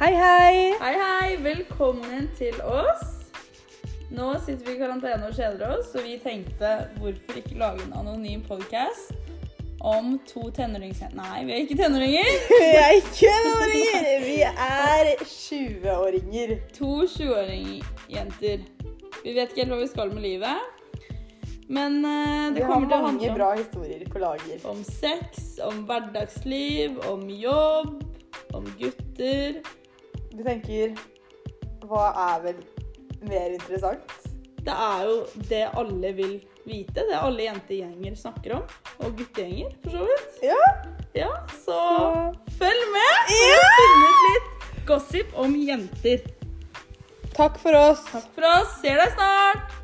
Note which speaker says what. Speaker 1: Hei, hei!
Speaker 2: Hei, hei! Velkommen til oss. Nå sitter vi i karantene og kjeder oss, så vi tenkte hvorfor ikke lage en anonym podcast om to tenåringsjenter Nei, vi er ikke tenåringer!
Speaker 1: Vi er ikke tenåringer, vi er 20-åringer.
Speaker 2: To 20-åringsjenter. Vi vet ikke helt hva vi skal med livet, men eh,
Speaker 1: Vi
Speaker 2: det
Speaker 1: har
Speaker 2: kommer til å
Speaker 1: mange
Speaker 2: handle om,
Speaker 1: bra historier på lager.
Speaker 2: om sex, om hverdagsliv, om jobb, om gutter.
Speaker 1: Du tenker Hva er vel mer interessant?
Speaker 2: Det er jo det alle vil vite, det alle jentegjenger snakker om. Og guttegjenger, for så vidt.
Speaker 1: Ja.
Speaker 2: Ja, så
Speaker 1: Så-
Speaker 2: følg med! Vi har funnet litt gossip om jenter.
Speaker 1: Takk for oss.
Speaker 2: Takk for oss. Ser deg snart!